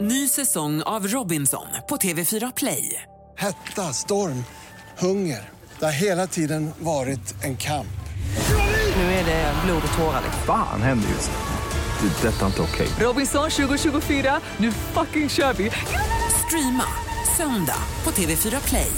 Ny säsong av Robinson på TV4 Play. Hetta, storm, hunger. Det har hela tiden varit en kamp. Nu är det blod och tårar. liksom. Fan händer just nu. Det. är Detta är inte okej. Robinson 2024, nu fucking kör vi! Streama söndag på TV4 Play.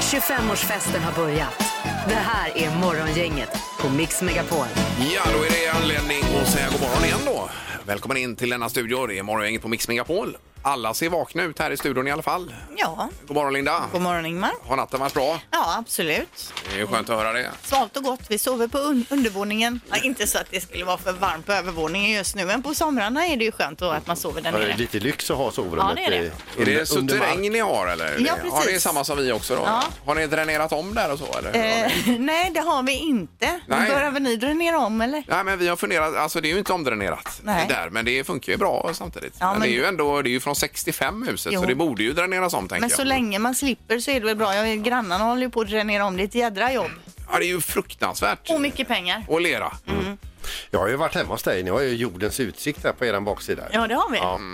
25-årsfesten har börjat. Det här är Morgongänget på Mix Megapol. Ja, då är det anledning att säga god morgon igen då. Välkommen in till denna studio. Det är morgongänget på Mix Megapol. Alla ser vakna ut här i studion i alla fall. Ja, God morgon Linda. god morgon Ingmar. Har natten varit bra? Ja, absolut. Det är ju skönt att höra det. Svalt och gott. Vi sover på un undervåningen. Ja, inte så att det skulle vara för varmt på övervåningen just nu, men på somrarna är det ju skönt då att man sover där Ja, det är nere. lite lyx att ha sovrummet Ja, det är det. eh, Är under- det under mark. suterräng ni har eller? Ja, precis. det är samma som vi också då. Ja. Har ni dränerat om där och så eller? Eh, nej, det har vi inte. Nej. Behöver ni dränera om eller? Nej men vi har funderat, alltså det är ju inte omdränerat Nej. där men det funkar ju bra samtidigt. Ja, men, men- det är ju ändå, det är ju från 65 huset så Jo. det borde ju dräneras om tänker Men jag. så länge man slipper så är det väl bra. Jag vet, grannarna håller ju på att dränera om. Det är ett jädra jobb. Ja det är ju fruktansvärt. Och mycket pengar. Och lera. Jag har ju varit hemma hos dig. Ni har ju jordens utsikt här på er baksida. Ja, det har vi. Ja. Eh,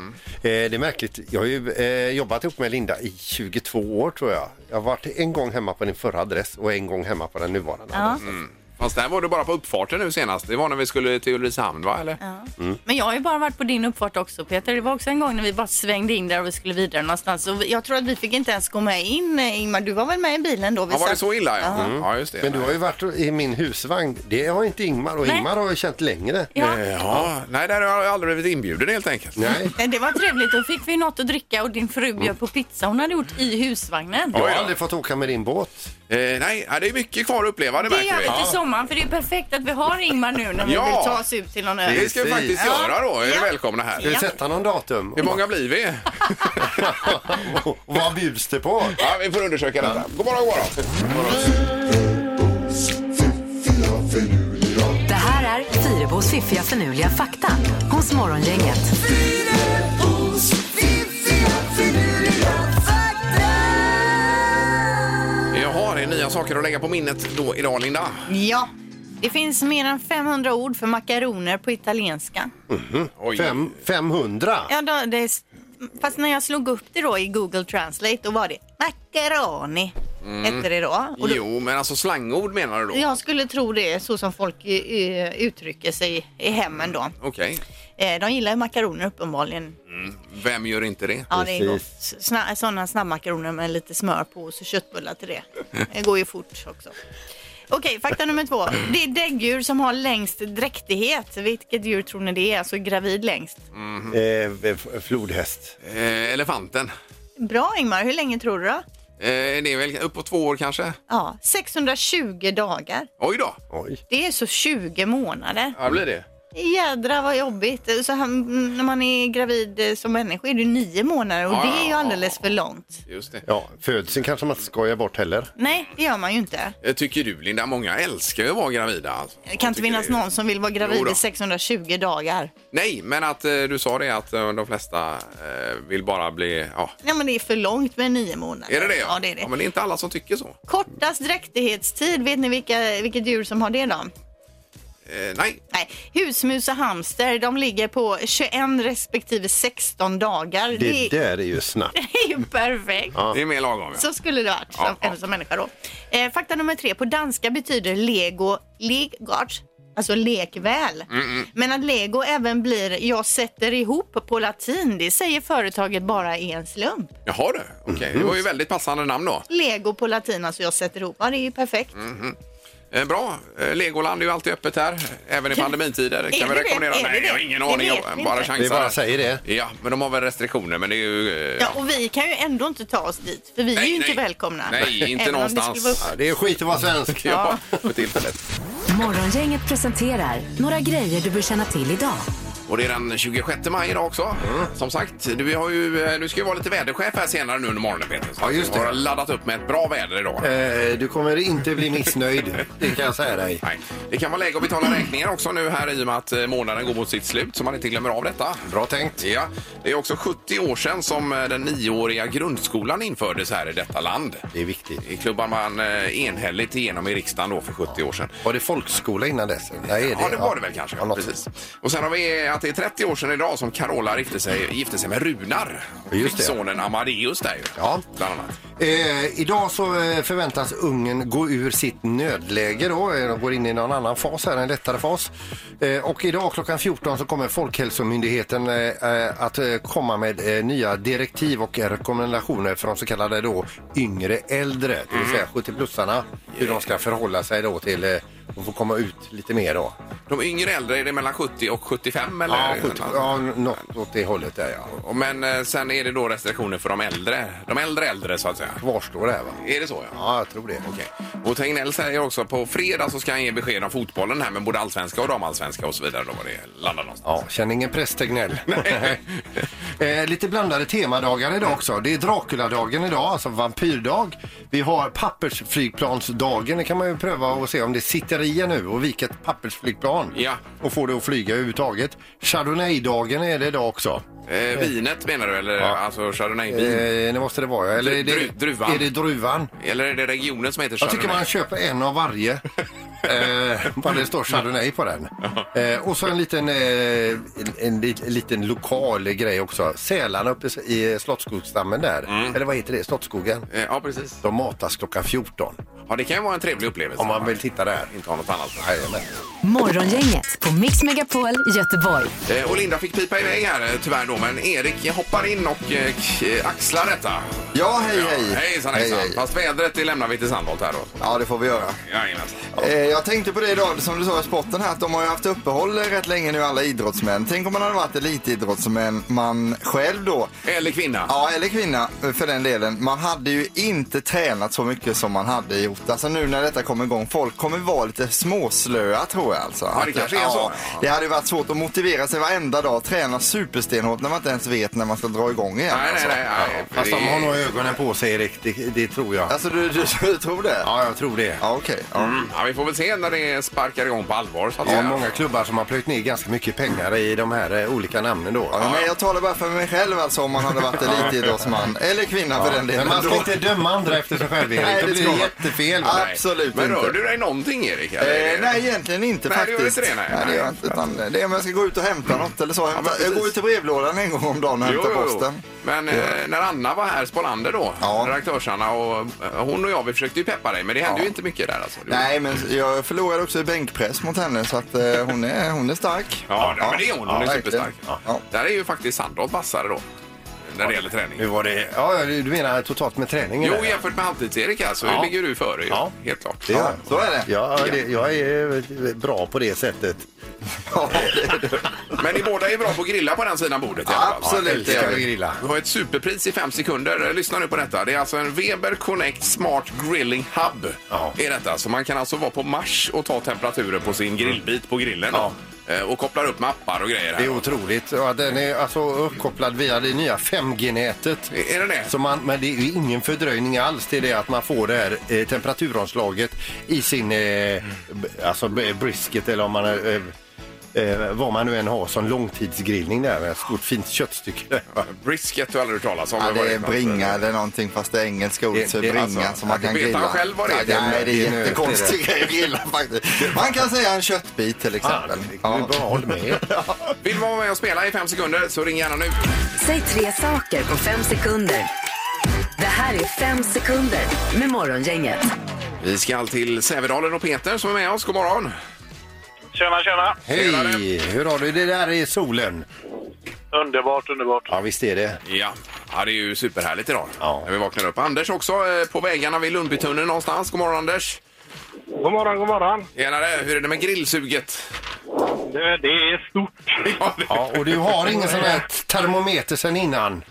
Det är märkligt. Jag har ju eh, jobbat ihop med Linda i 22 år tror jag. Jag har varit en gång hemma på din förra adress och en gång hemma på den nuvarande. Ja. Fast där var du bara på uppfarten nu senast. Det var när vi skulle till Ulricehamn va eller? Ja. Men jag har ju bara varit på din uppfart också Peter. Det var också en gång när vi bara svängde in där och vi skulle vidare någonstans. Och jag tror att vi fick inte ens gå med in eh, Ingmar. Du var väl med i bilen då? Vi Ja, var det satt- så illa? Ja, Mm. ja just det. Men du har ju varit i min husvagn. Det har inte Ingmar och Nej. Ingmar har ju känt längre. Ja. Eh, ja, nej, där har jag aldrig blivit inbjuden helt enkelt. Nej. Nej, Det var trevligt. Då fick vi något att dricka och din fru bjöd på pizza hon hade gjort i husvagnen. Jag Oj har då. aldrig fått åka med din båt. Eh, nej, ja, det är mycket kvar att uppleva, det Det gör märker vi vi. till sommaren för det är perfekt att vi har Ingmar nu när vi Ja. vill ta oss ut till någon ö. Det ska vi faktiskt Precis. göra då. Är ni Ja. välkomna här. Ska vi sätta någon datum? Hur många blir vi? och vad bjuds det på? Ja, vi får undersöka detta. God morgon, god morgon. Det här är Fyrebos fiffiga förnuliga fakta hos Morgongänget. Jaha, det är nya saker att lägga på minnet då idag, Linda. Ja. Det finns mer än 500 ord för makaroner på italienska. Oj. Fem, 500? Ja, då, det är, s- fast när jag slog upp det då i Google Translate då var det macaroni. Hette det då. Och då Mm. Jo, men alltså slangord menar du då? jag skulle tro det så som folk eh, uttrycker sig i hemmen då. Okej. Eh, De gillar ju makaroner uppenbarligen. Vem gör inte det? Ja, det är Precis. gott. Sna sådana snabbmakaroner med lite smör på och så köttbullar till det. Det går ju fort också. Okej, fakta nummer två. Det är däggdjur som har längst dräktighet. Vilket djur tror ni det är? Alltså gravid längst. Eh, f- flodhäst. Eh, elefanten. Bra Ingmar, hur länge tror du då? Eh, det är väl uppåt två år kanske? Ja, 620 dagar. Oj då! Oj. Det är så 20 månader. Ja, blir det. Jädra vad jobbigt. Så här, mm, när man är gravid eh, som människa är det nio månader och det är ju alldeles för långt. Just det. Ja, födseln kanske man inte skojar bort heller. Nej, det gör man ju inte. Eh, Tycker du Linda, många älskar ju att vara gravida. Alltså. Det kan inte Tycker finnas det- någon som vill vara Jo gravid då. i 620 dagar. Nej, men att eh, du sa det att eh, de flesta eh, vill bara bli... Ja. Nej, men det är för långt med nio månader. Är det det? Ja, det är det. Ja, men det är inte alla som tycker så. Kortast dräktighetstid, vet ni vilka, vilket djur som har det då? Eh, nej. Nej, husmus och hamster, de ligger på 21 respektive 16 dagar. Det, där är ju snabbt. det är ju perfekt. Det är mer lagom. Ja. Så skulle det varit, Ja, som, ja. även som människa då. Eh, fakta nummer tre, på danska betyder lego legard, alltså lekväl. Men att lego även blir jag sätter ihop på latin, det säger företaget bara är en slump. Jaha du. Okej, det Mm. var ju väldigt passande namn då. Lego på latin, alltså jag sätter ihop, ja det är ju perfekt. Eh, bra. Eh, Legoland är ju alltid öppet här, även i pandemitider. Kan det vi det? rekommendera? Är det Nej, det? jag har ingen Det aning. vet vi Jag bara inte. Vi chansar. bara säger det. Ja, men de har väl restriktioner, men det är ju... eh, Ja, och vi kan ju ändå inte ta oss dit, för vi är Nej, ju inte nej. välkomna. Nej, inte Även om det skulle någonstans. vara upp- Ja, Det är skit att vara svensk. Ja, för tillfället. Morgongänget presenterar några grejer du bör känna till idag. Och det är den 26 maj idag också. Mm. Som sagt, du, har ju, eh, du ska ju vara lite väderchef här senare nu under morgonen Peter. Så Ja, just det. Du har laddat upp med ett bra väder idag. Eh, Du kommer inte bli missnöjd, det kan jag säga dig. Nej. Det kan vara läge att betala räkningar också nu här i och med att eh, månaden går mot sitt slut så man inte glömmer av detta. Bra tänkt. Ja, det är också 70 år sedan som eh, den nioåriga grundskolan infördes här i detta land. Det är viktigt. Det klubbar man eh, enhälligt igenom i riksdagen då för 70 år sedan. Var det folkskola innan dess? Nej, Ja, det var det väl kanske. Ja, Ja, något. precis. Och sen har vi eh, att det är 30 år sedan idag som Carola gifte sig, gifte sig med Runar. Just Fick det. sonen Amadeus där ju. Ja. Bland annat. Eh, idag så eh, förväntas ungen gå ur sitt nödläge då. Eh, De går in i någon annan fas här, en lättare fas. Eh, och idag klockan 14 så kommer Folkhälsomyndigheten eh, eh, att eh, komma med eh, nya direktiv och rekommendationer för de så kallade då yngre äldre, det vill säga 70-plussarna, hur de ska förhålla sig då till eh, och få komma ut lite mer då. De yngre äldre, är det mellan 70 och 75 eller? Ja, 70, ja, något åt det hållet där ja. Och Men eh, sen är det då restriktioner för de äldre. De äldre äldre så att säga. Kvarstår det här va? Är det så? Ja. Ja, jag tror det. Okej. Och Tegnell säger också på fredag så ska han ge besked om fotbollen här med både allsvenska och damallsvenska och så vidare då var det landar någonstans. Ja, känner ingen press Tegnell. eh, lite blandade temadagar idag också. Det är Draculadagen idag, alltså vampyrdag. Vi har pappersflygplansdagen. Det kan man ju pröva och se om det sitter i en nu och vika ett pappersflygplan Ja. och få det att flyga överhuvudtaget. Chardonnaydagen är det idag också. Eh, vinet menar du eller alltså chardonnayvin? Eh, det måste det vara. Eller är Dru- det, druvan. Är det druvan? Eller är det regionen som heter Eh. Jag tycker chardonnay? man köper en av varje. eh, bara det står Chardonnay på den. Eh, och så en liten, eh, en, en, lit- en liten lokal grej också. Sälarna uppe i Slottsskogsstammen där. Mm. Eller vad heter det? Slottsskogen. Eh, Ja, precis. De matas klockan 14. Ja, det kan ju vara en trevlig upplevelse. Om man vill titta där. Inte ha något annat. Jajamän. Morgongänget på Mix Megapol Göteborg. Eh, och Linda fick pipa iväg här eh, tyvärr då, men Erik hoppar in och eh, k- axlar detta. Ja, hej, hej. Hejsan, Hej, hejsan. hej. Fast vädret det lämnar vi till Sandholt här då. Ja, det får vi göra. Jajamensan. Eh, Jag tänkte på det idag, som du sa i sporten här, att de har ju haft uppehåll rätt länge nu alla idrottsmän. Tänk om man hade varit elitidrottsmän man själv då. Eller kvinna. Ja, eller kvinna för den delen. Man hade ju inte tränat så mycket som man hade gjort. Alltså nu när detta kommer igång, folk kommer vara lite småslöa tror jag alltså. Ja, det kanske är så. Det hade ju varit svårt att motivera sig varenda dag, träna superstenhårt när man inte ens vet när man ska dra igång igen. Nej, nej, alltså. nej. nej. Fast Det- de har nog ögonen på sig Erik, det, det tror jag. Alltså du, du, du tror det? Ja, jag tror det. Ja, okej. Ja. Mm, Ja, vi får väl se när det sparkar igång på allvar. Så att Det är säga. många klubbar som har plöjt ner ganska mycket pengar i de här eh, olika namnen då. Ja, men jag talar bara för mig själv alltså om man hade varit elitidrottsman. Eller kvinna för den delen. Men man ska Då- inte döma andra efter sig själv Nej, Erik. det ska Det blir man. jättefel. va? Nej. absolut Men inte. rör du dig någonting, Erik? eller är Eh, det- nej, egentligen inte Nej, det faktiskt. gör inte det, nej. det gör jag inte. Utan det är om jag ska gå ut och hämta något eller så. Jag, men hämtar, jag precis. går ut till brevlådan en gång om dagen och Jo, hämtar jo, jo. posten. Men eh, när Anna var här, Spolander då, Ja. redaktörs-Anna, och eh, hon och jag vi försökte ju peppa dig, men det hände Ja. ju inte mycket där alltså. Det- Nej, men jag förlorade också i bänkpress mot henne så att eh, hon, är, hon är stark. Ja, ja, men det är hon. Hon är verkligen. superstark. Ja. Där är ju faktiskt Sandholt vassare då, när det gäller Nu träning. var det... Ja, du menar totalt med träningen? Jo, där, ja. jämfört med halvtids-Erik här så Ja. ligger du före ju. Ja. Helt klart. Det gör Så är det. jag. Ja, det, jag är eh, bra på det sättet. Ja, det är det. Men ni båda är bra på att grilla på den sidan bordet i alla fall. Absolut, älskar det är att vi. grilla. Vi har ett superpris i fem sekunder. Lyssna nu på detta. Det är alltså en Weber Connect Smart Grilling Hub. Ja. Är detta. Så man kan alltså vara på Mars och ta temperaturen på sin grillbit på grillen. Ja. Eh, Och kopplar upp med appar och grejer. Här. Det är otroligt. Ja, den är alltså uppkopplad via det nya 5G-nätet. Är den det? Så man, men det är ju ingen fördröjning alls till det att man får det här eh, temperaturomslaget i sin eh, b- alltså b- brisket eller om man eh, eh, vad man nu än har som långtidsgrillning där. Ett stort fint köttstycke. där, va? Brisket har jag aldrig hört talas om. Ja, Vad det är för något? bringa eller någonting fast det är engelska ordet Det- för det är bringa alltså- som man ja, kan vet grilla. han själv vad det är? Ja, nej, det är Det är jättekonstig nöt, grej att grilla faktiskt. Man kan säga en köttbit till exempel. Ja, bra, håll med. Vill man vara med och spela i fem sekunder så ring gärna nu. Säg tre saker på fem sekunder. Det här är fem sekunder med Morgongänget. Vi ska till Sävedalen och Peter som är med oss. God morgon! Tjena, tjena! Hej! Hur har du det där i solen? Underbart, underbart. Ja, visst är det. Ja, ja det är ju superhärligt idag Ja. när vi vaknar upp. Anders också eh, på vägarna vid Lundbytunneln någonstans. God morgon Anders! God morgon, god morgon. Tjenare! Hur är det med grillsuget? Det, det är stort. Ja, det- Ja, och du har ingen sån här termometer sen innan?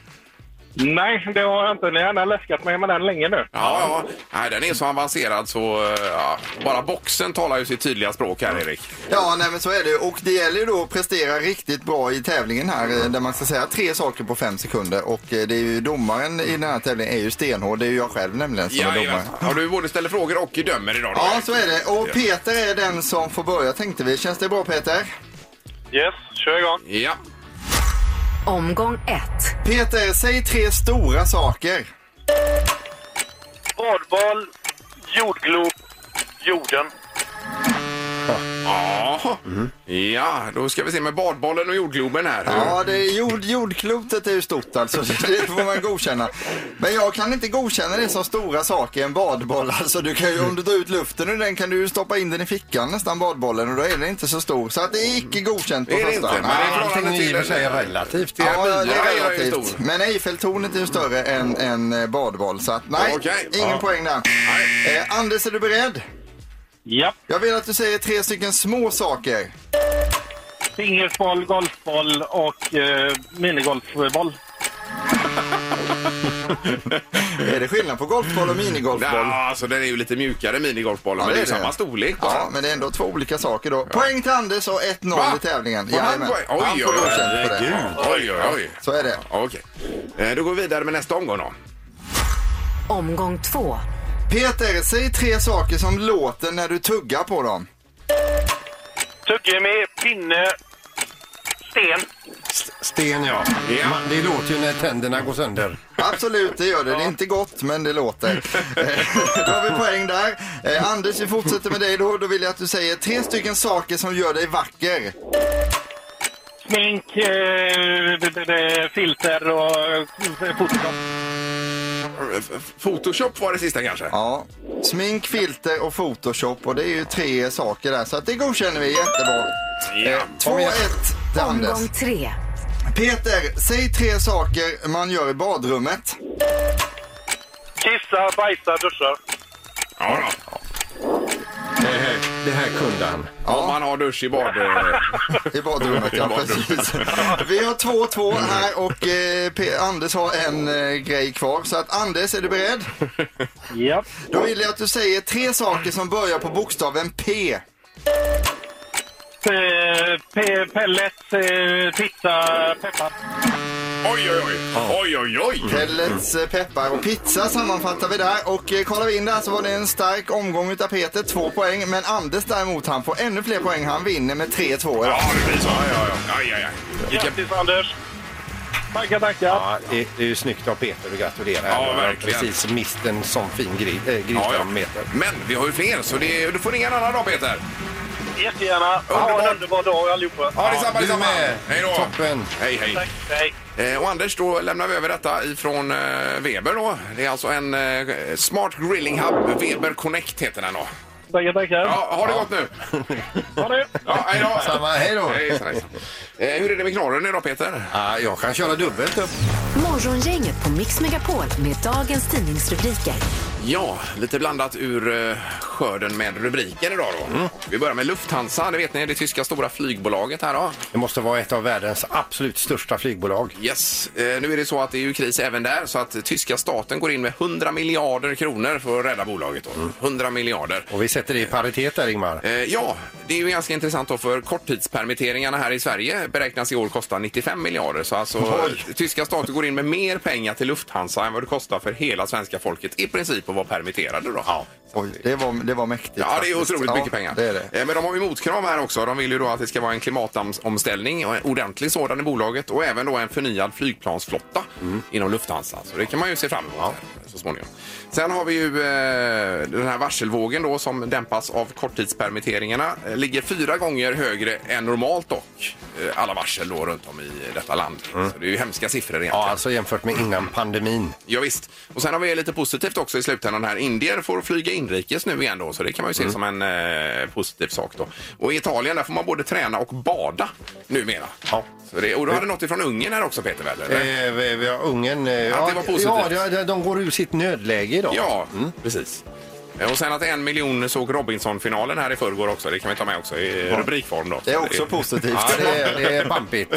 Nej, det har jag inte. Ni har gärna läskat mig med den länge nu. Ja, ja. Nej, den är så avancerad så eh, ja, bara boxen talar ju sitt tydliga språk här, Erik. Ja, nej, men så är det ju. Och det gäller ju då att prestera riktigt bra i tävlingen här eh, där man ska säga tre saker på fem sekunder. Och eh, det är ju domaren i den här tävlingen är ju stenhård. Det är ju jag själv nämligen som är domare. Har du både ställer frågor och dömer idag? då, Ja, Erik? så är det. Och Peter är den som får börja tänkte vi. Känns det bra Peter? Yes, kör igång. Ja. Omgång ett. Peter, säg tre stora saker. Badboll, jordglob, jorden. Ja. ja, då ska vi se med badbollen och jordgloben här. Ja, det är jord, jordklotet är ju stort alltså, så det får man godkänna. Men jag kan inte godkänna det som stora saker, en badboll. Alltså, du kan ju, om du tar ut luften ur den kan du ju stoppa in den i fickan nästan, badbollen, och då är den inte så stor. Så att det är icke godkänt på Det är det första. inte, men Nej. det är Allting är i och för sig relativt. Det är Ja, det bilar är ju är relativt. stor. Men Eiffeltornet är ju större än, än eh, badboll. Så att nej, Okej. ingen Ja. poäng där. Nej. Eh, Anders, är du beredd? Japp. Jag vill att du säger tre stycken små saker. Pingisboll, golfboll och eh, minigolfboll. Är det skillnad på golfboll och minigolfboll? Ja, alltså den är ju lite mjukare minigolfbollen, men det är ju samma storlek bara. Ja, men det är ändå två olika saker då. Poäng till Anders och 1-0 Va? i tävlingen. Får han Jajamän. poäng? Oj, Han får oj, oj, godkänt för det. Oj, oj, oj. Så är det. Ja, Okej. Eh, Då går vi vidare med nästa omgång då. Omgång två. Peter, säg tre saker som låter när du tuggar på dem. Tuggummi, pinne, sten. Sten, ja. Ja. Man- Det låter ju när tänderna går sönder. Absolut, det gör det. Det är inte gott, men det låter. Eh, då har vi poäng där. Eh, Anders, vi fortsätter med dig då. Då vill jag att du säger tre stycken saker som gör dig vacker. Smink, eh, d- d- d- filter och eh, Photoshop. F- f- Photoshop var det sista kanske? Ja. Smink, filter och Photoshop. Och det är ju tre saker där, så att det godkänner vi jättebra. Ja. 2-1 till Anders. Omgång tre. Peter, säg tre saker man gör i badrummet. Kissa, bajsa, duscha. Ja, då. Det här, det här kunde han. Om man har dusch i bad... eh, I badrummet, I ja badrummet. precis. Vi har 2-2 här och eh, P- Anders har en eh, grej kvar. Så att Anders, är du beredd? Japp. Då vill jag att du säger tre saker som börjar på bokstaven P. Eh, pe- Pellets, eh, pizza, peppar. Oj, oj, oj! Oj, oj, oj! Pellets, eh, peppar och pizza sammanfattar vi där. Och eh, kollar vi in där så var det en stark omgång utav Peter, två poäng. Men Anders däremot, han får ännu fler poäng. Han vinner med 3-2 idag. Ja, det blir så. Ja, ja, ja. Aj, aj, aj. Vilken... Grattis Anders! Tackar, tackar! Ja, det, det är ju snyggt av Peter att gratulera. Ja, Han har verkligen. Precis mist en sån fin gri, äh, Ja, ja. grisframmeter. Men vi har ju fler, så det, du får ringa en annan dag, Peter. Jättegärna! Ha en Underbart. underbar dag allihopa! Ja, detsamma, du detsamma. med. Hej då. Toppen. Hej, hej. Tack, hej! Eh, och Anders, då lämnar vi över detta ifrån eh, Weber då. Det är alltså en eh, Smart Grilling Hub, Weber Connect heter den då. Tackar, tackar! Ja, har det gått nu? Ha det! Ja, hej då. Samma, hej då. Hejsan, hejsan. Eh, hur är det med knorren idag Peter? Ja, jag kan köra dubbelt upp. Morgongänget på Mix Megapol med dagens tidningsrubriker. Ja, lite blandat ur eh, skörden med rubriker idag då. Vi börjar med Lufthansa, det vet ni, det tyska stora flygbolaget här då. Det måste vara ett av världens absolut största flygbolag. Yes, eh, nu är det så att det är ju kris även där så att tyska staten går in med 100 miljarder kronor för att rädda bolaget då. 100 miljarder. Och vi sätter det i paritet där, Ingmar. Eh, Ja, det är ju ganska intressant då för korttidspermitteringarna här i Sverige beräknas i år kosta 95 miljarder. Så alltså Oj. tyska staten går in med mer pengar till Lufthansa än vad det kostar för hela svenska folket i princip att vara permitterade då. Ja. Oj, det var, det var mäktigt. Ja, det är faktiskt. otroligt Ja, mycket pengar. Det är det. Eh, Men de har ju motkrav här också. De vill ju då att det ska vara en klimatomställning, och en ordentlig sådan i bolaget och även då en förnyad flygplansflotta Mm. inom Lufthansa. Så det kan man ju se fram emot här så småningom. Sen har vi ju eh, den här varselvågen då som dämpas av korttidspermitteringarna. Eh, Ligger fyra gånger högre än normalt dock. eh, Alla varsel då runt om i detta land. Mm. Så det är ju hemska siffror egentligen. Ja, alltså jämfört med innan pandemin. Ja, visst. Och sen har vi lite positivt också i slutändan här. Indier får flyga inrikes nu igen då, så det kan man ju se som en eh, positiv sak då. Och i Italien där får man både träna och bada numera. Ja. Så det, och du hade något ifrån Ungern här också Peter väl? Eller? Eh, vi, vi har ungen... Eh, Att det var positivt. Ja, det- det- de går ur sitt nödläge idag. Ja, precis. Eh, Och sen att en miljon såg Robinson-finalen här i förrgår också. Det kan vi ta med också i rubrikform då. Det är Så också positivt. Ja, det, är- det är pampigt.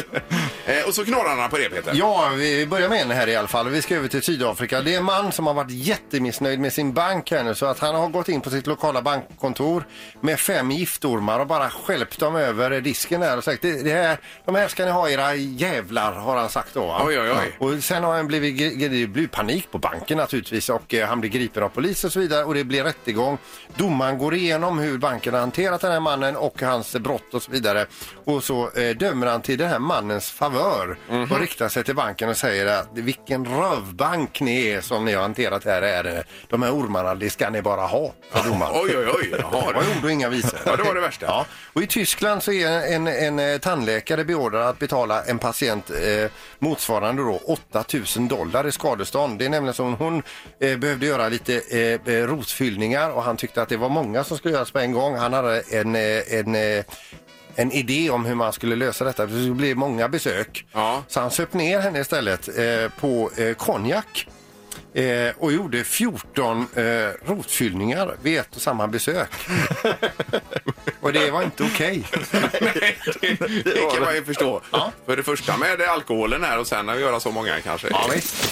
Eh, och så knorrarna på det Peter. Ja, vi börjar med en här i alla fall. Vi ska över till Sydafrika. Det är en man som har varit jättemissnöjd med sin bank här nu så att han har gått in på sitt lokala bankkontor med fem giftormar och bara stjälpt dem över disken där och sagt det, det här, de här ska ni ha era jävlar har han sagt då. va? Oj, oj, oj. Och sen har han blivit, gri- gri- det blir panik på banken naturligtvis och eh, han blir gripen av polis och så vidare och det blir rättegång. Domaren går igenom hur banken har hanterat den här mannen och hans brott och så vidare. Och så eh, dömer han till den här mannens favör Mhm. och riktar sig till banken och säger att vilken rövbank ni är som ni har hanterat det här ärendet. De här ormarna, det ska ni bara ha, för domaren. Oj, oj, oj. Det Jaha, var du. ju ord och inga visor. Ja, det var det värsta. Ja. Och I Tyskland så är en, en, eh, tandläkare beordrad att betala en patient eh, motsvarande då 8 000 dollar i skadestånd. Det är nämligen som hon eh, behövde göra lite eh, eh, rotfyllningar och han tyckte att det var många som skulle göras på en gång. Han hade en, eh, en eh, en idé om hur man skulle lösa detta. för Det skulle bli många besök. Ja. Så han söp ner henne istället eh, på eh, konjak eh, och gjorde 14 eh, rotfyllningar vid ett och samma besök. och det var inte okej. Nej, det, det kan man ju förstå. För det första med alkoholen här och sen att göra så många kanske.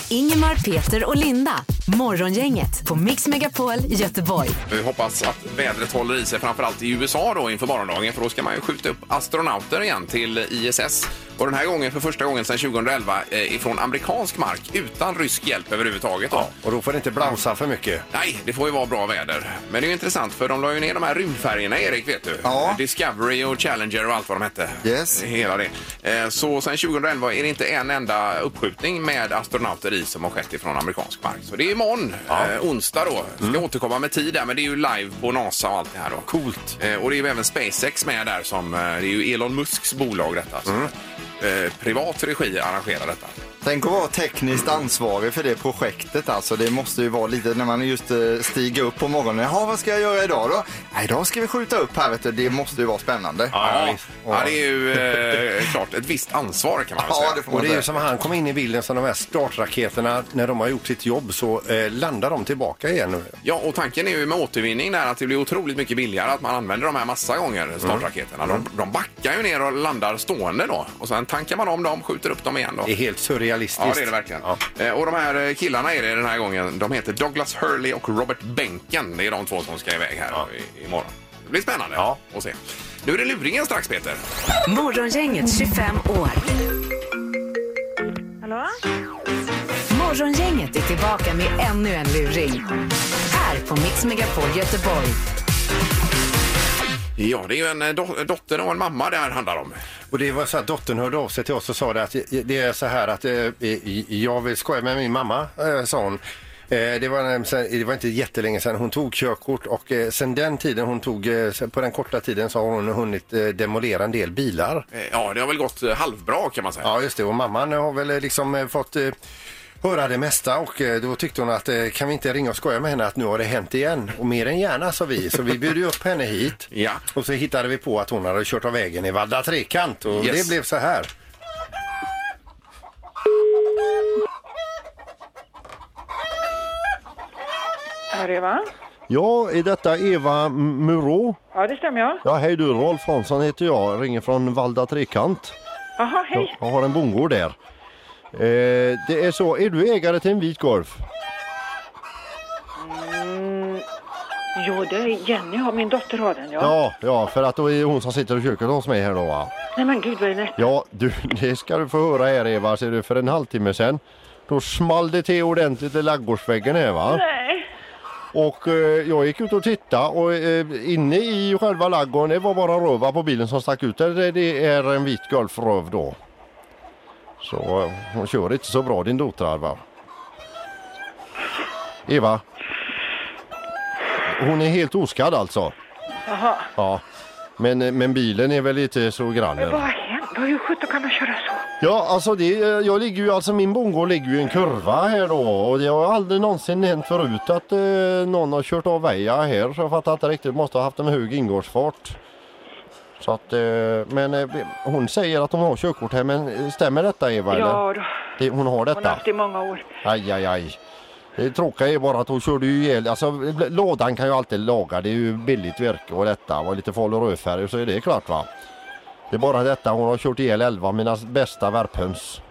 Ingemar, Peter och Linda. Morgongänget på Mix Megapol Göteborg. Vi hoppas att vädret håller i sig, framförallt i USA då inför morgondagen för då ska man ju skjuta upp astronauter igen till ISS. Och den här gången för första gången sedan 2011 eh, ifrån amerikansk mark utan rysk hjälp överhuvudtaget. Då. Och då får det inte blåsa för mycket. Nej, det får ju vara bra väder. Men det är ju intressant för de la ju ner de här rymdfärgerna, Erik, vet du. Ja. Discovery och Challenger och allt vad de hette. Yes. Hela det. Eh, Så sen 2011 är det inte en enda uppskjutning med astronauter i som har skett ifrån amerikansk mark. Så det är imorgon, eh, onsdag då. Ska återkomma med tid där, men det är ju live på NASA och allt det här då. Coolt. Eh, Och det är ju även SpaceX med där som, eh, det är ju Elon Musks bolag detta. Så, eh, Privat regi arrangerar detta. Tänk att vara tekniskt ansvarig för det projektet. Alltså, det måste ju vara lite när man just eh, stiger upp på morgonen. Jaha, vad ska jag göra idag då? Nej, idag ska vi skjuta upp här. Vet du. Det måste ju vara spännande. Ja, ja, det är ju eh, klart ett visst ansvar kan man väl Ja, säga. det får Och man det är ju säga. som han kom in i bilden som de här startraketerna, när de har gjort sitt jobb så eh, landar de tillbaka igen. nu. Ja, och tanken är ju med återvinning där att det blir otroligt mycket billigare att man använder de här massa gånger, Mm. startraketerna. De, de backar ju ner och landar stående då och sen tankar man om dem, skjuter upp dem igen då. Det är helt surrealistiskt. Ja, det är det verkligen. Ja. Eh, Och de här eh, killarna är det den här gången. De heter Douglas Hurley och Robert Benken. Det är de två som ska iväg här i, imorgon. Det blir spännande Ja. att se. Nu är det luringen strax, Peter. Morgongänget 25 år. Hallå? Morgongänget är tillbaka med ännu en luring. Här på Mix Megapol Göteborg. Ja, det är ju en eh, do- dotter och en mamma det här handlar om. Och det var så att dottern hörde av sig till oss och sa det att det är så här att eh, jag vill skoja med min mamma, eh, sa hon. Eh, Det var, en- sen- det var inte jättelänge sedan hon tog körkort och eh, sen den tiden hon tog, eh, sen- på den korta tiden så har hon hunnit eh, demolera en del bilar. Eh, Ja, det har väl gått eh, halvbra kan man säga. Ja just det och mamman har väl eh, liksom eh, fått eh, höra det mesta och eh, då tyckte hon att eh, kan vi inte ringa och skoja med henne att nu har det hänt igen. Och mer än gärna sa vi, så vi bjöd ju upp henne hit. Ja. Och så hittade vi på att hon hade kört av vägen i Valla Trekant och Yes. det blev så här. Eva? Ja, är detta Eva M- Murå? Ja, det stämmer ja. Ja, hej du, Rolf Hansson heter jag. Jag ringer från Valda Trekant. Jaha, Jag, hej. jag har en bondgård där. Eh, det är så, är du ägare till en vit Golf? Jo, det är Jenny har, min dotter har den ja. Ja, ja, för att då är det hon som sitter i köket hos mig här då va? Nej men gud vad är det? Ja, du, det ska du få höra här Eva, ser du, för en halvtimme sedan. Då small det till ordentligt i laggårdsväggen här va? Nej. Och eh, jag gick ut och tittade och eh, inne i själva laggården, det var bara röva på bilen som stack ut. Det, det är en vit golfröv då. Så eh, hon kör inte så bra din dotter va? Eva? Hon är helt oskadd alltså? Jaha. Ja. Men, eh, men bilen är väl inte så grann? Men eller? vad har hänt? Vad- Hur sjutton kan man köra så? Ja, alltså det, jag ligger ju, alltså min bondgård ligger ju i en kurva här då och det har aldrig någonsin hänt förut att eh, någon har kört av väja här så jag fattar inte riktigt, måste ha haft en hög ingångsfart. Så att, eh, men eh, hon säger att hon har körkort här men eh, stämmer detta Eva? eller? Ja, då. Det, hon har hon har detta? haft det i många år. Aj, aj, aj. Det tråkiga är bara att hon körde ju ihjäl, alltså bl- lådan kan ju alltid laga, det är ju billigt virke och detta och lite farlig rödfärg så är det klart va. Det är bara detta, hon har kört ihjäl 11 av mina bästa värphöns.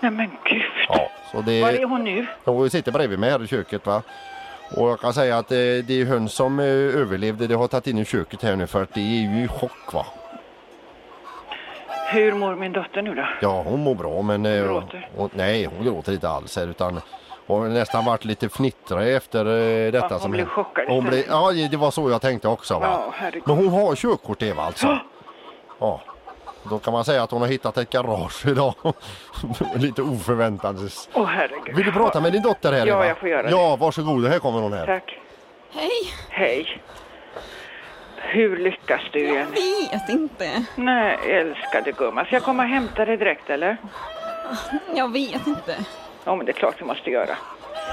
Nej men gud. Ja, så det... Var är hon nu? Hon sitter bredvid mig här i köket va. Och jag kan säga att eh, det är höns som eh, överlevde, det har tagit in i köket här nu för att det är ju i chock va. Hur mår min dotter nu då? Ja, hon mår bra men... eh, gråter. hon, nej, hon gråter inte alls här utan och nästan varit lite fnittrig efter eh, detta. Ja, hon som blev hände. chockad Hon blev, istället. ja, det var så jag tänkte också. Va? Ja, herregud. Men hon har körkort Eva alltså. Ja. Då kan man säga att hon har hittat ett garage idag. lite oförväntat. Åh herregud. Vill du prata med din dotter här Ja, Eva? jag får göra det. Ja, varsågod. Här kommer hon här. Tack. Hej! Hej. Hur lyckas du igen? Vet inte. Nej, älskade gumman. Ska jag komma och hämta dig direkt eller? Jag vet inte. Ja, men det är klart vi måste göra.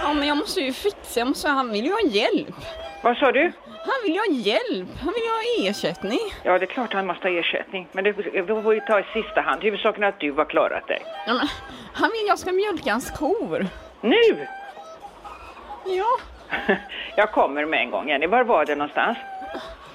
Ja, men jag måste ju fixa. Jag måste, han vill ju ha hjälp. Vad sa du? Han vill ju ha hjälp. Han vill ju ha ersättning. Ja, det är klart han måste ha ersättning. Men det det får vi ta i sista hand. Huvudsaken är att du har klarat dig. Ja, men, han vill jag ska mjölka hans kor. Nu! Ja, Jag kommer med en gång, Jenny. Var var det någonstans?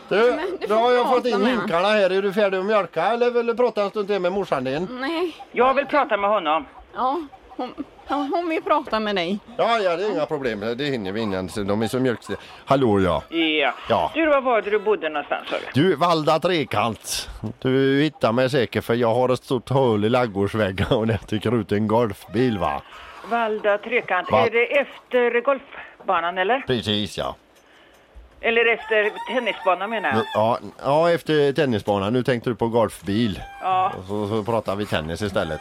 Du, Men du nu får har jag prata fått in med honom. hinkarna här. Är du färdig att mjölka eller vill du prata en stund till med morsan din? nej. Jag vill prata med honom. Ja, hon, hon hon vill prata med dig. Ja, ja, det är inga problem. Det hinner vi innan. De är så mjölkstiga. Hallå ja. Ja. Ja. Du, var var det du bodde någonstans? sa du? Du, Valda Trekant. Du hittar mig säkert för jag har ett stort hål i ladugårdsväggen och där tycker ut en golfbil va? Valda Trekant. Va- Är det efter golfbanan eller? Precis ja. Eller efter tennisbanan menar jag. Ja, ja efter tennisbanan. Nu tänkte du på golfbil. Ja. Och Så, så pratar vi tennis istället.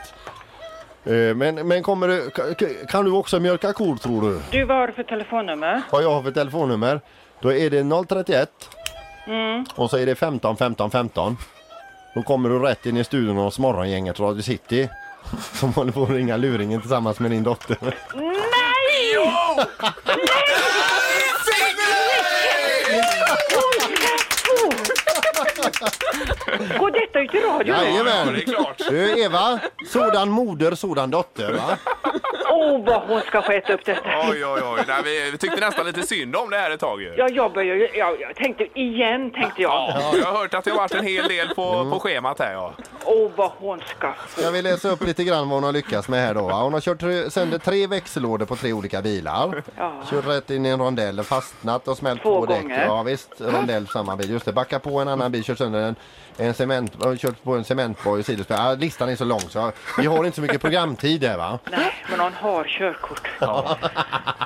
Eh, Men, men kommer du, ka- kan du också mjölka kor tror du? Du, vad har du för telefonnummer? Vad jag har för telefonnummer? Då är det 031 Mm. och så är det 15 15 15. Då kommer du rätt in i studion hos morgongänget Radio City. Som håller på att ringa luringen tillsammans med din dotter. Går detta ut i radio? Ja, det är klart. Du Eva, sådan moder, sådan dotter va? Åh, vad hon ska få äta upp detta. Oj, oj, oj. Nej, vi, vi tyckte nästan lite synd om det här ett tag. ju. Ja, jag börjar ju... Ja, jag tänkte igen, tänkte jag. Åh, Ja, jag har hört att det har varit en hel del på, på schemat här. Ja. vad hon ska få. Jag vill läsa upp lite grann vad hon har lyckats med här då. va? Hon har kört tre- sönder tre växellådor på tre olika bilar. Ja. Kört rätt in i en rondell, fastnat och smält Två på däck. gånger. Ja visst, rondell på samma bil. Just det, backa på en annan bil, kört sönder en, en cement, äh, kört på en cementboj och sidospår. Ja, listan är så lång så jag- vi har inte så mycket programtid här va. Nej, men hon har körkort.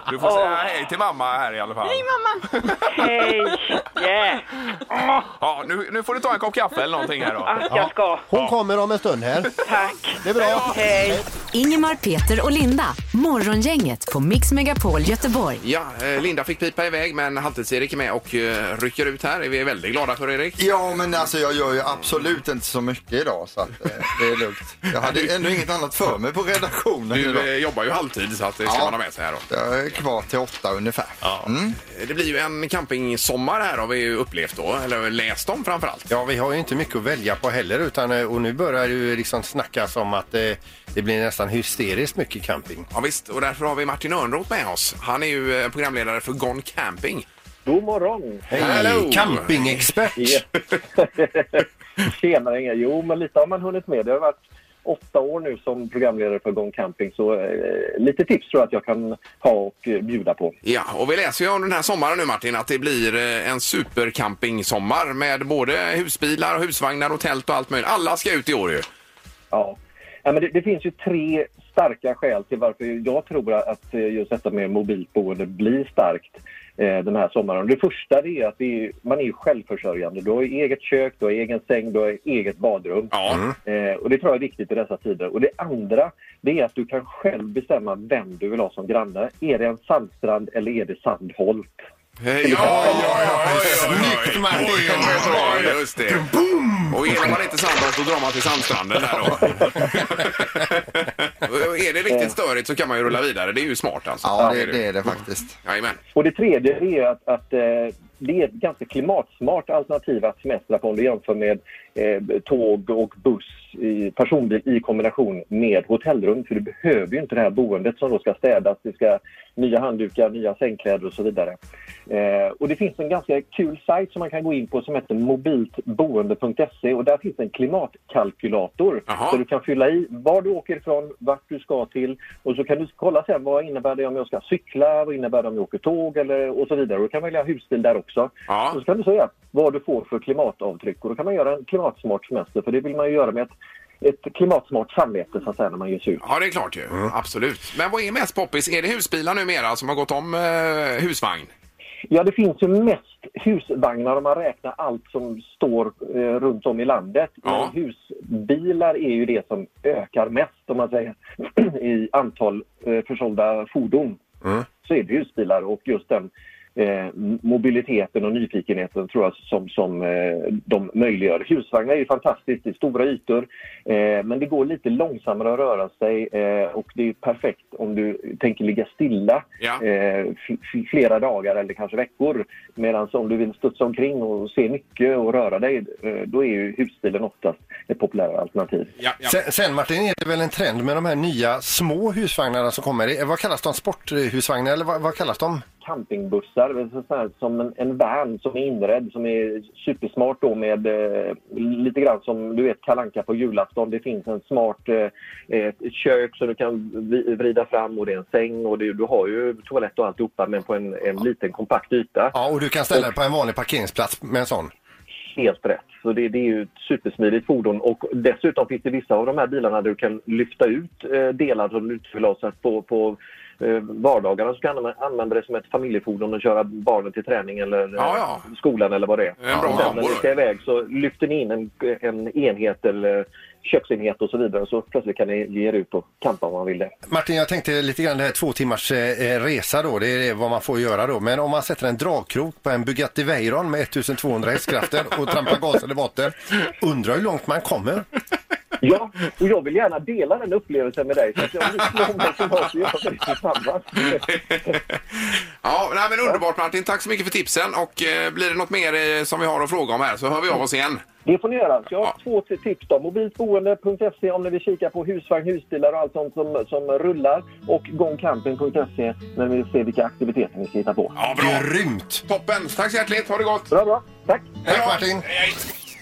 Du får säga hej till mamma här i alla fall. Hej mamma! Hej! Yeah! Ja, nu, nu får du ta en kopp kaffe eller någonting här då. Att jag ska. Hon kommer om en stund här. Tack. Det är bra. Hej! Ingemar, Peter och Linda. Morgongänget på Mix Megapol Göteborg. Ja, eh, Linda fick pipa iväg men Halvtids-Erik är med och eh, rycker ut här. Vi är väldigt glada för Erik. Ja, men alltså jag gör ju absolut inte så mycket idag så att, eh, det är lugnt. Jag hade ändå inget annat för mig på redaktionen Du idag. eh, jobbar ju halvtid så att det ska man ha med sig här då. Jag är kvar till åtta ungefär. Mm. Det blir ju en campingsommar här har vi ju upplevt då, eller läst om framförallt. Ja, vi har ju inte mycket att välja på heller utan eh, och nu börjar det ju liksom snackas om att eh, det blir nästan hysteriskt mycket camping. Ja, visst, och därför har vi Martin Örnroth med oss. Han är ju eh, programledare för Gone Camping. God morgon! Hallå! Hej, campingexpert! Tjenare Inga! Jo, men lite har man hunnit med. Det har varit åtta år nu som programledare för Gång Camping så eh, lite tips tror jag att jag kan ha och eh, bjuda på. Ja, och vi läser ju om den här sommaren nu Martin att det blir eh, en supercampingsommar med både husbilar, och husvagnar och tält och allt möjligt. Alla ska ut i år ju. Ja. Ja, men det, det finns ju tre starka skäl till varför jag tror att eh, just detta med mobilt boende blir starkt eh, den här sommaren. Det första det är att det är, man är ju självförsörjande. Du har ju eget kök, du har egen säng, du har eget badrum. Ja. Eh, och Det tror jag är viktigt i dessa tider. Och Det andra det är att du kan själv bestämma vem du vill ha som granne. Är det en sandstrand eller är det Sandholt? Eh, Ja, ja, ja, Snyggt Martin! Oj, oj, oj, just det. Och gillar man inte sandbad så drar man till sandstranden där då. Och är det riktigt störigt så kan man ju rulla vidare. Det är ju smart alltså. Ja, det, det är det faktiskt. Jajamän. Och det tredje är att, att eh, det är ett ganska klimatsmart alternativ att semestra på om du jämför med eh, tåg och buss, i, personbil i kombination med hotellrum. För du behöver ju inte det här boendet som då ska städas. Det ska nya handdukar, nya sängkläder och så vidare. Eh, och det finns en ganska kul sajt som man kan gå in på som heter mobiltboende.se och där finns en klimatkalkylator. Jaha. Så du kan fylla i var du åker ifrån, vart du ska till och så kan du kolla sen vad innebär det om jag ska cykla, vad innebär det om jag åker tåg eller, och så vidare. Och du kan välja husbil där också. Ja. Och så kan du säga vad du får för klimatavtryck och då kan man göra en klimatsmart semester för det vill man ju göra med ett ett klimatsmart samvete så att säga när man ger sig ut. Ja, det är klart ju. Absolut. Men vad är mest poppis? Är det husbilar numera som har gått om eh, husvagn? Ja, det finns ju mest husvagnar om man räknar allt som står eh, runt om i landet. Ja. Men husbilar är ju det som ökar mest om man säger i antal eh, försålda fordon. Så är det husbilar och just den eh, mobiliteten och nyfikenheten tror jag som, som eh, de möjliggör. Husvagnar är ju fantastiskt, det är stora ytor eh, men det går lite långsammare att röra sig eh, och det är perfekt om du tänker ligga stilla Ja. eh, f- f- flera dagar eller kanske veckor. Medan om du vill studsa omkring och se mycket och röra dig, eh, då är ju husbilen oftast ett populärare alternativ. Ja, ja. Sen, sen Martin, är det väl en trend med de här nya små husvagnarna som kommer? Eh, Vad kallas de? Sporthusvagnar eller vad, vad kallas de? Campingbussar, det är så- så här, som en, en van som är inredd, som är supersmart då med eh, lite grann som du vet kalanka på julafton. Det finns en smart eh, ett kök som du kan vi- vrida fram och det är en säng och det, du har ju toalett och alltihopa men på en, en liten kompakt yta. Ja, och du kan ställa dig på en vanlig parkeringsplats med en sån. Helt rätt. Så det, det är ju ett supersmidigt fordon. Och dessutom finns det vissa av de här bilarna där du kan lyfta ut eh, delar som du inte vill ha. Så att på, på eh, vardagarna så kan man använda det som ett familjefordon och köra barnen till träning eller eh, Ja, skolan eller vad det är. En bra och sen när kombo ni då. ska iväg så lyfter ni in en, en enhet eller eh, köksenhet och så vidare. Så plötsligt kan ni ge er ut och campa om man vill det. Martin, jag tänkte lite grann det här två timmars eh, resa då, det är det vad man får göra då. Men om man sätter en dragkrok på en Bugatti Veyron med 1200 hästkrafter och trampar gasen i botten, undrar hur långt man kommer. Ja, och jag vill gärna dela den upplevelsen med dig. Så att jag vill slå mig tillbaka och göra det tillsammans. ja, nej, men underbart Martin. Tack så mycket för tipsen. Och eh, blir det något mer eh, som vi har att fråga om här så hör vi av oss igen. Det får ni göra. Så jag har Ja. två t- tips då. Mobiltboende.se E, om ni vill kika på husvagn, husbilar och allt sånt som, som rullar. Och gångcampen.se E, när ni vill se vilka aktiviteter ni ska hitta på. Ja, bra. Grymt! Toppen. Tack så hjärtligt. Ha det gott. Bra, bra. Tack! Hej Tack då. Martin! Hej.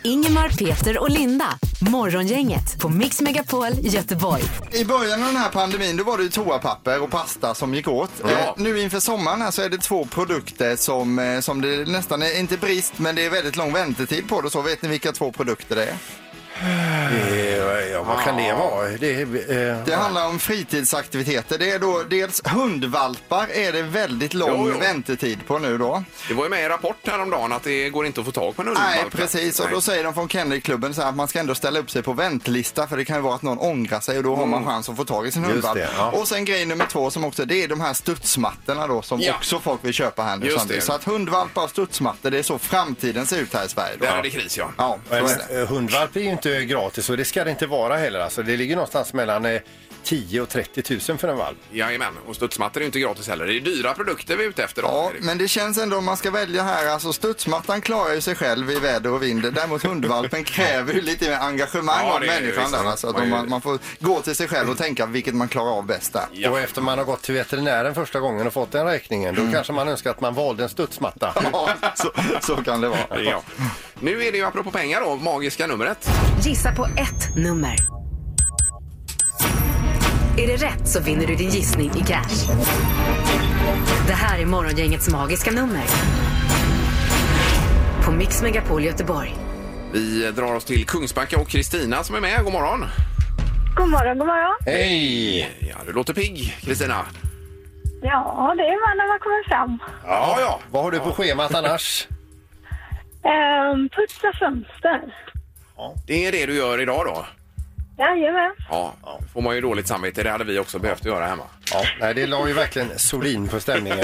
Ingemar, Peter och Linda. Morgongänget på Mix Megapol Göteborg. I början av den här pandemin då var det ju toapapper och pasta som gick åt. Eh, nu inför sommaren här så är det två produkter som, eh, som det nästan är, inte brist, men det är väldigt lång väntetid på det. Så vet ni vilka två produkter det är? Ja, vad kan det vara? Det, är, eh, Det handlar om fritidsaktiviteter. Det är då dels hundvalpar är det väldigt lång Jo, jo. väntetid på nu då. Det var ju med i Rapport häromdagen att det går inte att få tag på en hundvalp. Nej, precis. Och då säger de från Kennelklubben så här att man ska ändå ställa upp sig på väntlista för det kan ju vara att någon ångrar sig och då har Mm. man chans att få tag i sin Just hundvalp. det, ja. Och sen grej nummer två som också, det är de här studsmattorna då som Ja. också folk vill köpa här nu. Just Sandy. det. Så att hundvalpar och studsmattor, det är så framtiden ser ut här i Sverige. Då. Där är det kris, ja. Ja, så är Men, det. eh, hundvalp är ju inte gratis och det ska det inte vara heller. Alltså, det ligger någonstans mellan eh, 10 och 30 000 för en valp. Jajamän. Och studsmattor är ju inte gratis heller. Det är dyra produkter vi är ute efter. då, Ja, Erik. men det känns ändå om man ska välja här, alltså studsmattan klarar ju sig själv i väder och vind. Däremot hundvalpen kräver ju lite mer engagemang Ja, av det är det ju, människan visst. där. Alltså, att Man om gör man, det. man får gå till sig själv och tänka vilket man klarar av bäst där. Ja. Och efter man har gått till veterinären första gången och fått den räkningen, då Mm. kanske man önskar att man valde en studsmatta. Ja, så, så kan det vara. Ja. Nu är det ju apropå pengar då, magiska numret. Gissa på ett nummer. Är det rätt så vinner du din gissning i cash. Det här är Morgongängets magiska nummer. På Mix Megapol Göteborg. Vi drar oss till Kungsbacka och Kristina som är med. God morgon! God morgon, god morgon. Hej! Ja, du låter pigg, Kristina. Ja, det är man när man kommer fram. Ja, ja. Vad har du på schemat annars? Ehm, putsa fönster. Det är det du gör idag då? Jajamän. Ja, får man ju dåligt samvete. Det hade vi också behövt göra hemma. Ja, nej, det la ju verkligen solin på stämningen.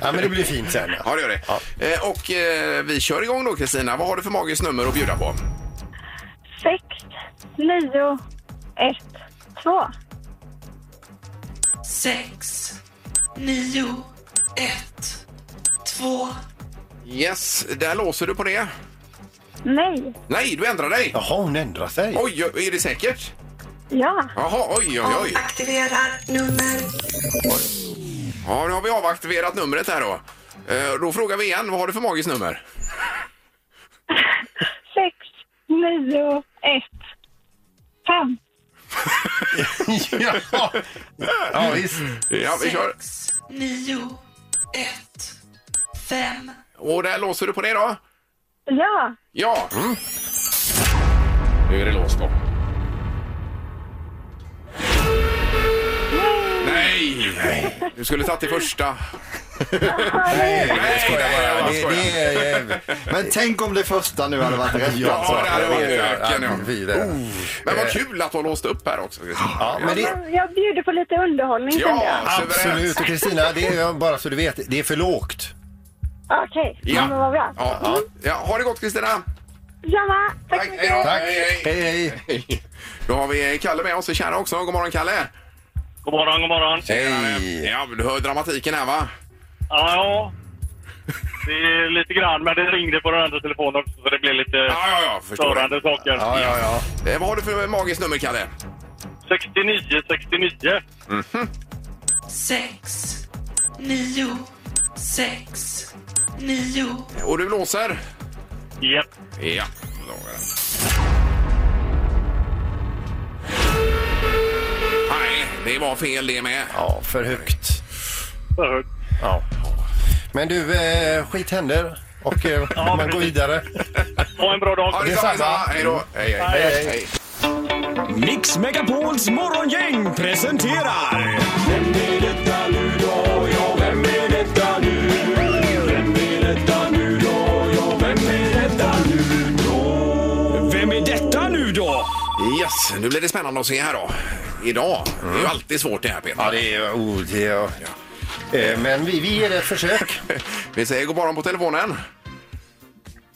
ja, men det blir fint sen. Ja, det gör det. Eh, och eh, vi kör igång då, Kristina. Vad har du för magiskt nummer att bjuda på? Sex, nio, ett, två. Yes, där låser du på det. Nej. Nej, du ändrar dig! Jaha, hon ändrar sig. Oj, är det säkert? Ja. Jaha, oj, oj, oj. Aktiverar nummer. Ja, nu har vi avaktiverat numret här då. Eh, då frågar vi igen, vad har du för magiskt nummer? Sex, nio, ett, fem. ja. ja, visst. Ja, vi kör. Nio, ett, fem. Och där låser du på det då? Ja. Ja! Mm. Nu är det låst då. Nej! Du skulle tagit det första. Nej, jag skojar nej, bara. jag Det, skojar. det är, men tänk om det första nu hade varit rätt. alltså. Ja, det hade varit öken. Ja, Ja. vidare. Oh. Men vad kul att du har låst upp här också. Ja, men det- Jag bjuder på lite underhållning Ja, kände jag. Absolut. Och Kristina, det är bara så du vet, det är för lågt. Okej, ja. men vad bra. Ja, ja. ja, ha det gott Kristina! Samma, tack så mycket. Tack! Hej, hej. hej! Då har vi Kalle med oss i Kärna också. God morgon Kalle! God morgon, god morgon. Hej! Ja, du hör dramatiken här va? Ja, ja. Det är lite grann, men det ringde på den andra telefonen också så det blev lite ja, ja, förstår störande saker. Eh, vad har du för magiskt nummer Kalle? 69, 69. Sex, nio, sex, nio. Och du blåser? Japp. Ja. Då är det. Nej, det var fel det med. Ja, för högt. För högt. Ja. Men du, eh, skit händer och eh, man går vidare. Ha en bra dag. Ja, detsamma. Hej då. Hej, Mm. hej. Hej, hej. Mix Megapols morgongäng presenterar... Vem är detta nu då? Ja, vem är detta nu? Vem är detta nu då? Ja, vem är detta nu då? Vem är detta nu då? Yes, nu blir det spännande att se här då. Idag. Det är ju alltid svårt det här Peter. Mm. Ja, det är... Oh, det är Eh, Men vi, vi ger det ett försök. vi säger god morgon på telefonen.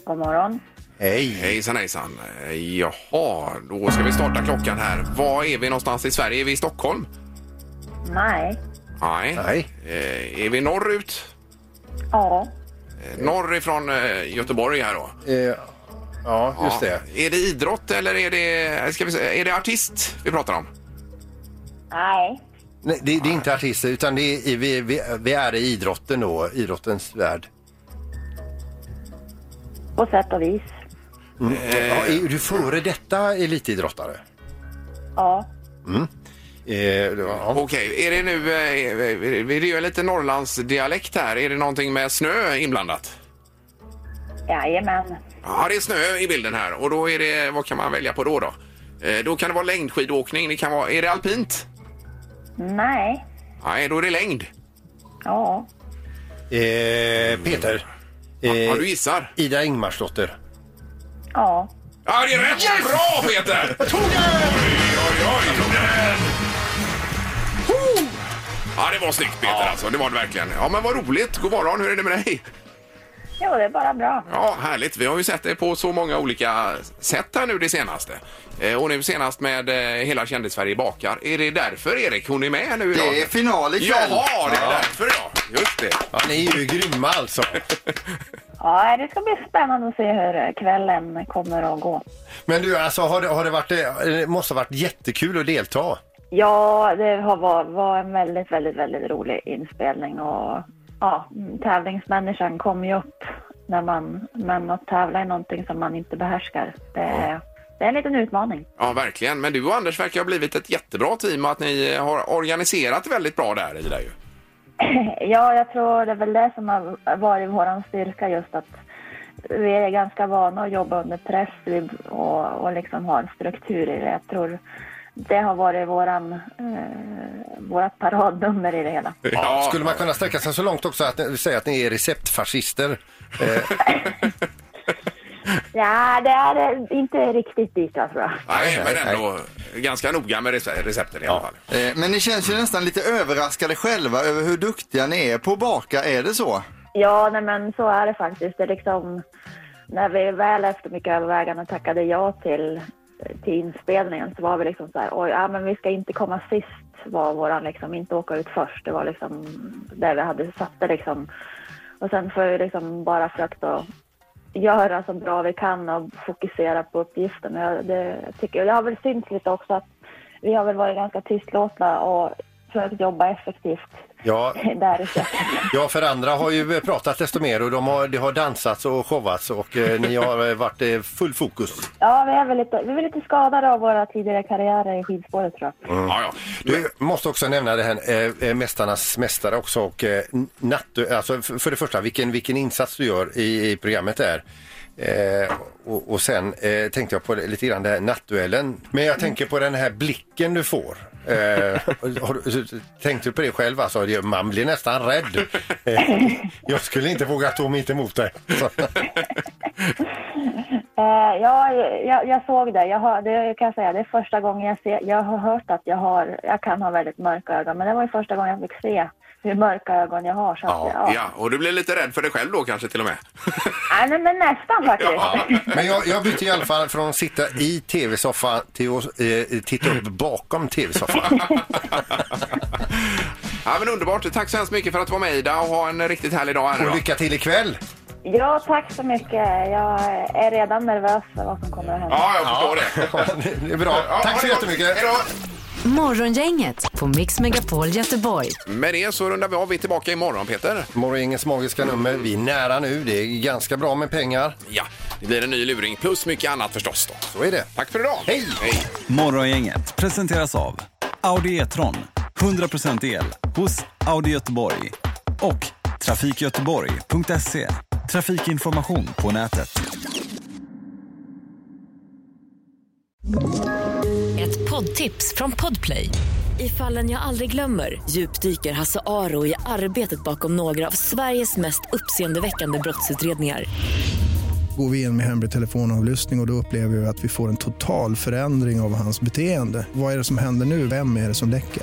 God morgon. Hej. Hejsan hejsan. Eh, Jaha, då ska vi starta klockan här. Var är vi någonstans i Sverige? Är vi i Stockholm? Nej. Nej. Eh, är vi norrut? Ja. Eh, Norr ifrån eh, Göteborg här då? Eh, Ja, just det. Är det idrott eller är det, eh, ska vi säga, är det artist vi pratar om? Nej. Nej, det, det är inte artister, utan det är, vi, vi, vi är i idrotten då, idrottens värld. På sätt och vis. Mm. Ja, Eh. är du före detta elitidrottare? Ja. Mm. Eh, det var- ja. Okej, är det nu, eh, det är ju en liten Norrlandsdialekt här. Är det någonting med snö inblandat? Jajamän. Ja, det är snö i bilden här och då är det, vad kan man välja på då då? Eh, Då kan det vara längdskidåkning, det kan vara, är det alpint? Nej. Nej, då är det längd. Ja. Eh, Peter. Eh, Ja, du gissar. Ida Ingmarsdotter. Ja. Ja, det är rätt! Bra Peter! Jag tog den! Oj, oj, oj! Jag tog den! Ho! Ja, det var snyggt Peter alltså, det var det verkligen. Ja, men vad roligt. God morgon, hur är det med dig? Jo, det är bara bra. Ja, härligt. Vi har ju sett dig på så många olika sätt här nu det senaste. Eh, Och nu senast med eh, Hela kändis-Sverige bakar. Är det därför, Erik, hon är med nu idag? Det är final ikväll. Jaha, det är Ja. därför ja. Just det. Ja, ni är ju grymma alltså. Ja, det ska bli spännande att se hur kvällen kommer att gå. Men du, alltså har det, har det varit, eh, det måste ha varit jättekul att delta. Ja, det har var, var en väldigt, väldigt, väldigt rolig inspelning och ja, mm, tävlingsmänniskan kom ju upp när man, men att tävla i någonting som man inte behärskar, det, är- det är en liten utmaning. Ja, verkligen. Men du och Anders verkar ha blivit ett jättebra team och att ni eh, har organiserat väldigt bra där i det ju. Ja, jag tror det är väl det som har varit vår styrka just att vi är ganska vana att jobba under press vi- och, och liksom ha en struktur i det. Jag tror det har varit våran, eh, vårat paradnummer i det hela. Ja. Skulle man kunna sträcka sig så långt också att ni- säga att ni är receptfascister? Eh, Ja, det är inte riktigt dit alltså. jag tror. Nej, men ändå ganska noga med rece- recepten i alla fall. Eh, Men ni känns ju nästan lite överraskade själva över hur duktiga ni är på att baka, är det så? Ja, nej, men så är det faktiskt. Det är liksom, när vi väl efter mycket övervägande tackade ja till, till inspelningen så var vi liksom så här, oj, ja, men vi ska inte komma sist var våran liksom, inte åka ut först. Det var liksom där vi hade satt det liksom. Och sen får vi liksom bara försökt att göra så bra vi kan och fokusera på uppgiften. Jag, det, jag tycker, det har väl synts lite också att vi har väl varit ganska tystlåtna och försökt jobba effektivt ja, där i köket. ja, för andra har ju eh, pratat desto mer och de har, det har dansats och showats och eh, ni har eh, varit eh, full fokus. Ja, vi är väl lite, vi är väl lite skadade av våra tidigare karriärer i skidspåret tror jag. Du måste också nämna det här eh, eh, Mästarnas mästare också och eh, natt, alltså f- för det första vilken, vilken insats du gör i, i programmet där. Eh, och, och sen eh, tänkte jag på det, lite grann det här nattduellen. Men jag tänker på den här blicken du får. Eh, har du, tänkte du på det själv? Alltså, det- man blir nästan rädd. Eh, jag skulle inte våga stå mitt emot dig. Eh, ja, jag, jag såg det. Jag har, det kan jag säga, det är första gången jag ser. Jag har hört att jag har, jag kan ha väldigt mörka ögon, men det var ju första gången jag fick se hur mörka ögon jag har. Så att, ja. Ja, och du blev lite rädd för dig själv då kanske till och med? Nej, men, men nästan faktiskt. Men jag, jag bytte i alla fall från att sitta i tv-soffan till att eh, titta upp bakom tv-soffan. Ja, men underbart. Tack så hemskt mycket för att du var med Ida och ha en riktigt härlig dag. Och lycka till ikväll. Ja, tack så mycket. Jag är redan nervös för vad som kommer att hända. Ja, jag förstår det. det är bra. Tack så jättemycket. Morgongänget på Mix Megapol Göteborg. Med det så rundar vi av. Vi är tillbaka imorgon Peter. Morgongängets magiska nummer. Vi är nära nu. Det är ganska bra med pengar. Ja, det blir en ny luring plus mycket annat förstås då. Så är det. Tack för idag. Hej! Hej. Morgongänget presenteras av Audi E-tron. 100% el hos Audi Göteborg. Och trafikgöteborg.se. Trafikinformation på nätet. Ett poddtips från Podplay. I fallen jag aldrig glömmer djupdyker Hasse Aro i arbetet bakom några av Sveriges mest uppseendeväckande brottsutredningar. Går vi in med hemlig telefonavlyssning och, och då upplever vi att vi får en total förändring av hans beteende. Vad är det som händer nu? Vem är det som läcker?